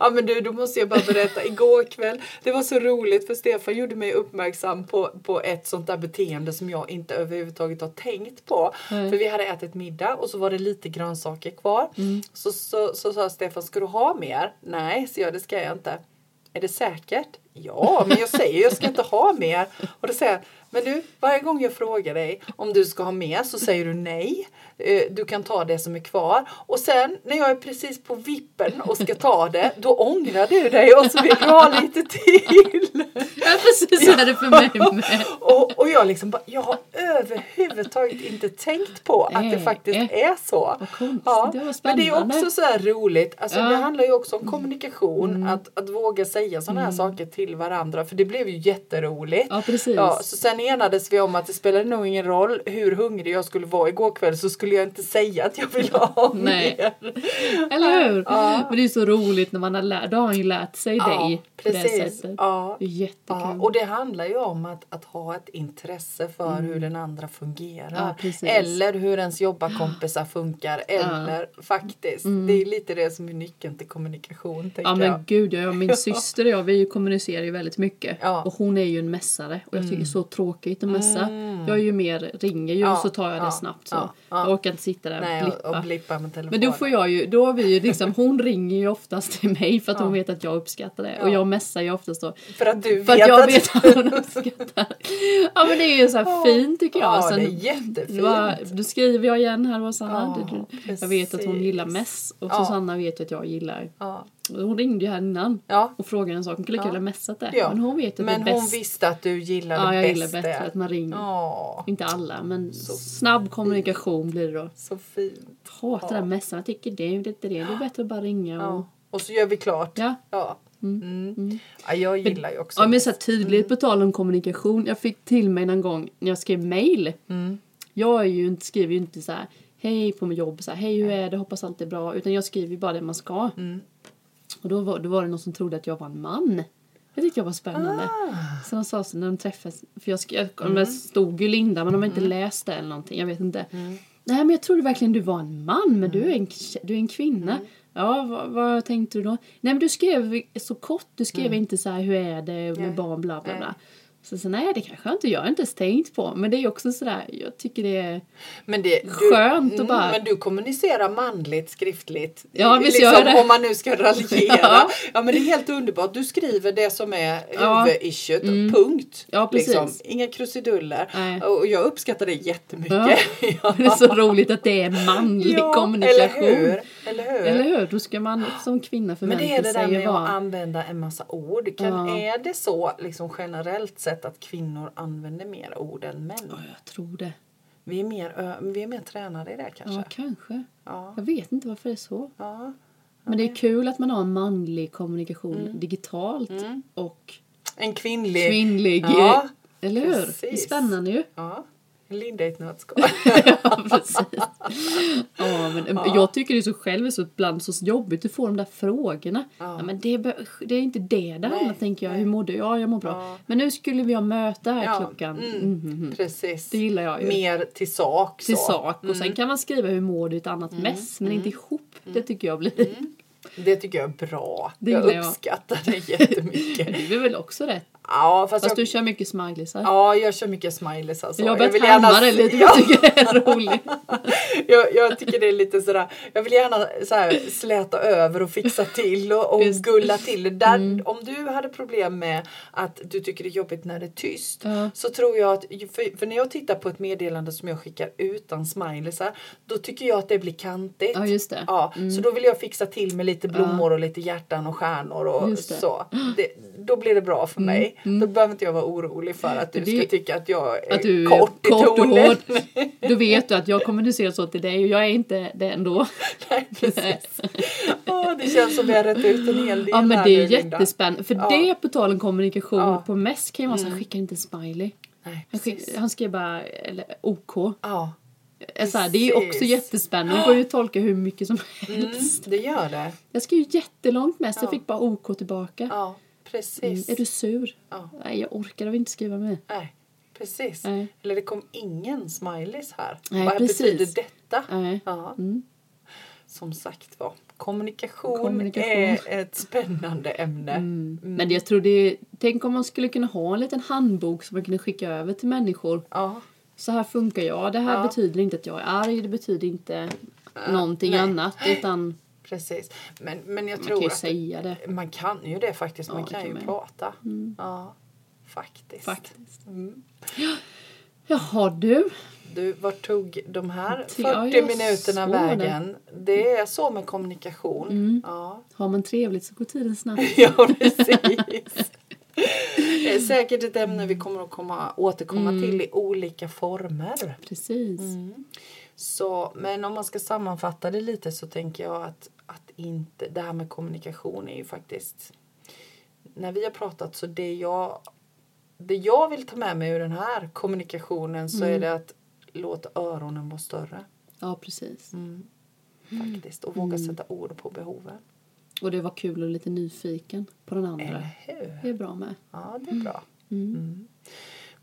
Ja men du, då måste jag bara berätta. Igår kväll, det var så roligt för Stefan gjorde mig uppmärksam på, på ett sånt där beteende som jag inte överhuvudtaget har tänkt på.
Nej.
För vi hade ätit middag och så var det lite grönsaker kvar. Så, så, så sa Stefan, ska du ha mer? Nej, så jag, det ska jag inte. Är det säkert? Ja, men jag säger jag ska inte ha mer. Och då säger jag, men du, varje gång jag frågar dig om du ska ha mer så säger du nej. Eh, Du kan ta det som är kvar. Och sen när jag är precis på vippen och ska ta det, då ångrar du dig och så vill du ha lite till.
Ja, precis så är det för mig med.
Och, och jag liksom bara, jag har överhuvudtaget inte tänkt på att det
Nej. Eh.
faktiskt är så.
Vad konstigt,
Ja,
det var
men det är
spännande.
också så här roligt. Alltså,
Ja. Mm.
Det handlar ju också om kommunikation, att, att våga säga sådana här saker till varandra. För det blev ju jätteroligt.
Ja, precis.
Ja, så sen enades vi om att det spelade nog ingen roll hur hungrig jag skulle vara igår kväll så skulle jag inte säga att jag vill ha
Nej.
mer.
Eller hur?
Ja.
Men det är ju så roligt när man har lärt, då har han ju lärt sig dig på det
precis.
sättet.
Ja.
Det är jättekul.
Ja, och det handlar ju om att, att ha ett intresse för hur den andra fungerar.
Mm. Ja, precis.
eller hur ens jobbarkompisar funkar. Eller faktiskt, det är lite det som är nyckeln till kommunikation. Tänker
Mm. Ja men
jag.
gud, ja, min syster och jag vi kommunicerar ju väldigt mycket.
Ja. Mm.
Och hon är ju en mässare och jag tycker det är så tråkigt att mässa. Jag är ju mer, ringer ju
Ja,
och så tar jag det
ja,
snabbt så.
ja, ja.
Jag orkar inte sitta där
Nej,
och
och,
blippa.
och blippa med telefonen.
men då får jag ju, då har vi ju liksom, hon ringer ju oftast till mig för att hon vet att jag uppskattar det. Och
Ja.
jag mässar ju oftast då.
För att du
För
vet
att jag
att...
vet att hon uppskattar. Ja men det är ju så här fint tycker jag.
Ja,
Sen-
det är jättefint.
Va, nu skriver jag igen här Rosanna.
Ja,
Du- du- jag vet att hon
precis.
gillar mess och
Ja.
Susanna vet ju att jag gillar.
Ja.
Hon ringde ju här innan
Ja.
och frågade en sak. Hon kunde lika gärna messat det.
Ja.
Men hon vet att
Men
det är
hon
bäst.
visste att du gillade
ja, jag
bäst
gillar bättre att man ringer.
Ja,
Inte alla, men snabb kommunikation blir det då.
så fint.
Hatar den mässan. Jag tycker det är ju inte det. Det är bättre att bara ringa och...
Ja. Och så gör vi klart.
Ja.
Ja. Mm. ja jag gillar ju också.
Ja, men så här, tydligt på tal om kommunikation. Jag fick till mig någon gång när jag skrev mail. Jag är ju inte, skriver ju inte så här hej på mitt jobb, så här, hej hur är det, hoppas allt är bra. Utan jag skriver ju bara det man ska. Och då var, då var det någon som trodde att jag var en man. Det tyckte jag var spännande.
Ah.
Så de sa så när de träffades, för jag, sk- jag
Mm.
det stod ju Linda men de har inte läst det eller någonting, jag vet inte.
Mm.
Nej men jag trodde verkligen du var en man men du, är en, tje- du är en kvinna.
Mm.
Ja, vad, vad tänkte du då? Nej men du skrev så kort, du skrev inte så här hur är det med
Mm. Nej.
barn bla bla bla.
Nej.
Så, så nej det kanske jag inte, jag har inte ens tänkt på. Men det är ju också sådär, jag tycker det är...
Men det, mm,
Skönt att bara-
Men du kommunicerar manligt skriftligt. Liksom,
Ja, visst gör jag det.
Om man nu ska raljera. ja.
Ja.
men det är helt underbart. Du skriver det som är
Ja. Mm.
huvudissuet. Punkt. Liksom,
Ja, precis.
Inga krusiduller.
Nej.
Och jag uppskattar det jättemycket.
Ja. Det är så roligt att det är manlig kommunikation.
Eller hur? Eller hur?
Eller hur? Då ska man som kvinna
Men
förvänta
det är det där
sig
med
att vara...
att använda en massa ord. Kan,
Ja.
Är det så liksom generellt sett att kvinnor använder mer ord än män?
Ja, jag tror det.
Vi är mer, ö- vi är mer tränade i det kanske.
Ja, kanske.
Ja.
Jag vet inte varför det är så.
Ja.
Men det är kul att man har en manlig kommunikation
Mm.
digitalt och
En kvinnlig...
kvinnlig.
Mm. Ja.
Eller hur? Det är
precis.
spännande ju.
Ja. Linda i ett nötskal.
Ja, precis. ja, men Jag tycker det är så själv är så ibland så jobbigt att få de där frågorna.
Ja.
Ja. men det, be- det är inte det det handlar tänker jag.
nej.
Hur mår du? Ja, jag mår bra.
Ja.
Men nu skulle vi ha möte här
Ja,
klockan.
mm.
Mm, mm, mm.
Precis.
Det gillar jag ju.
Mer till sak.
till
så. Mm. Mm.
sak. Och sen kan man skriva hur mår du i ett annat mess, men inte ihop. Det tycker jag blir
Det tycker jag är bra.
Det
jag
gillar jag.
uppskattar det
Men
jättemycket.
du är väl också rätt?
Ja, fast,
Fast
jag,
du kör mycket smileysar.
ja, jag kör mycket smileys alltså.
jag har börjat
vill
härma
gärna
det
se-
lite.
Ja,
Jag tycker det är roligt.
jag, jag tycker det är lite sådär. Jag vill gärna så här, släta över och fixa till och, och
Just. Mm.
gulla till. det. Där, Om du hade problem med att du tycker det är jobbigt när det är tyst
Ja.
så tror jag att, för, för när jag tittar på ett meddelande som jag skickar utan smileysar då tycker jag att det blir kantigt.
Ja, just det. Mm.
Ja, Så då vill jag fixa till med lite blommor och lite hjärtan och stjärnor och
Just det. Mm.
så. Det, då blir det bra för mig. Då behöver inte jag vara orolig för att du
Det-
ska tycka att jag är
Att du är
kort i
kort och
tonen.
hård. Då vet du att jag kommunicerar så till dig och jag är inte det ändå.
Nej, precis. Åh, det känns som vi har rätt ut en hel del
Ja men
här
det
nu,
är
Linda.
jättespännande. För
Ja.
det på tal om kommunikation
Ja. Mm.
på mess kan ju vara så här, skicka inte en smiley.
Nej,
Han skick-
precis.
Han skrev bara eller, OK.
Ja,
Så här, det är ju också
Precis. Mm.
jättespännande. Det går ju att tolka hur mycket som helst.
det gör det.
Jag skrev ju jättelångt mess.
Ja.
Jag fick bara OK tillbaka.
Ja,
Mm,
precis.
är du sur?
Ja.
Nej, jag orkar väl inte skriva med.
Nej, precis.
Nej.
Eller det kom ingen smileys här.
Nej,
Vad
precis.
betyder detta?
Nej.
Ja.
Mm.
Som sagt var, kommunikation,
Kommunikation. Mm.
är ett spännande ämne. mm.
Men jag tror det är, Tänk om man skulle kunna ha en liten handbok som man kunde skicka över till människor.
Ja,
Så här funkar jag. Det här
Ja. Äh,
betyder inte att jag är arg. Det betyder inte någonting
nej.
annat. Utan
precis. Men, men jag
man kan
tror
ju
att
säga det.
man kan ju det faktiskt. Man
Ja, det
kan
kan
ju
man. Mm.
prata. Ja, faktiskt.
Faktiskt.
Mm.
Jaha du.
Du, vart tog de här
Ja, jag
40 minuterna
såg
vägen? Det är så med kommunikation.
Mm.
Ja.
Har man trevligt så går tiden snabbt.
ja, precis. Det är Säkert ett ämne vi kommer att komma, återkomma
Mm.
till i olika former.
Precis.
Mm. Så, men om man ska sammanfatta det lite så tänker jag att, att inte, det här med kommunikation är ju faktiskt... När vi har pratat så det jag, det jag vill ta med mig ur den här kommunikationen så
Mm.
är det att låta öronen vara större.
Ja precis. Mm.
faktiskt och våga sätta ord på behoven.
Och det var kul och lite nyfiken på den andra.
Eller hur?
Det är bra med.
Ja, det är bra. Mm.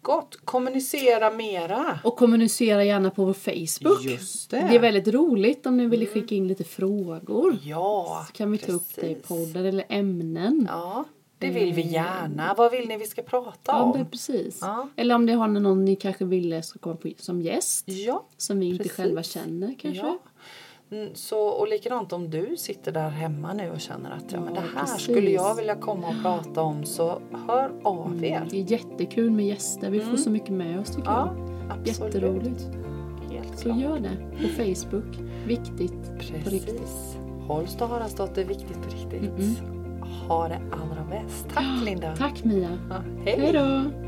Gott. Kommunicera mera.
Och kommunicera gärna på vår Facebook.
Just det. Mm.
det. är väldigt roligt om ni vill skicka in lite frågor.
Ja,
så kan vi ta upp det i
precis.
podden eller ämnen.
Ja, det vill vi gärna. Vad vill ni vi ska prata
Ja, men
om?
precis.
Ja.
Eller om det har någon ni kanske ville ska komma på som gäst.
Ja,
Som vi inte
Precis.
själva känner kanske.
ja. Mm, Så, och likadant om du sitter där hemma nu och känner att ja, men det
Ja,
här
precis.
skulle jag vilja komma och prata om så hör av er.
Mm, Det är jättekul med gäster. Vi får så mycket med oss tycker
Mm. Ja,
jag.
absolut.
Jätteroligt.
Helt
Så
klart.
gör det. På Facebook. Viktigt. På riktigt.
Precis. Hålls och höras då att det är viktigt på riktigt. Ha det allra bäst. Tack Linda.
Tack Mia.
Ja,
Hej då.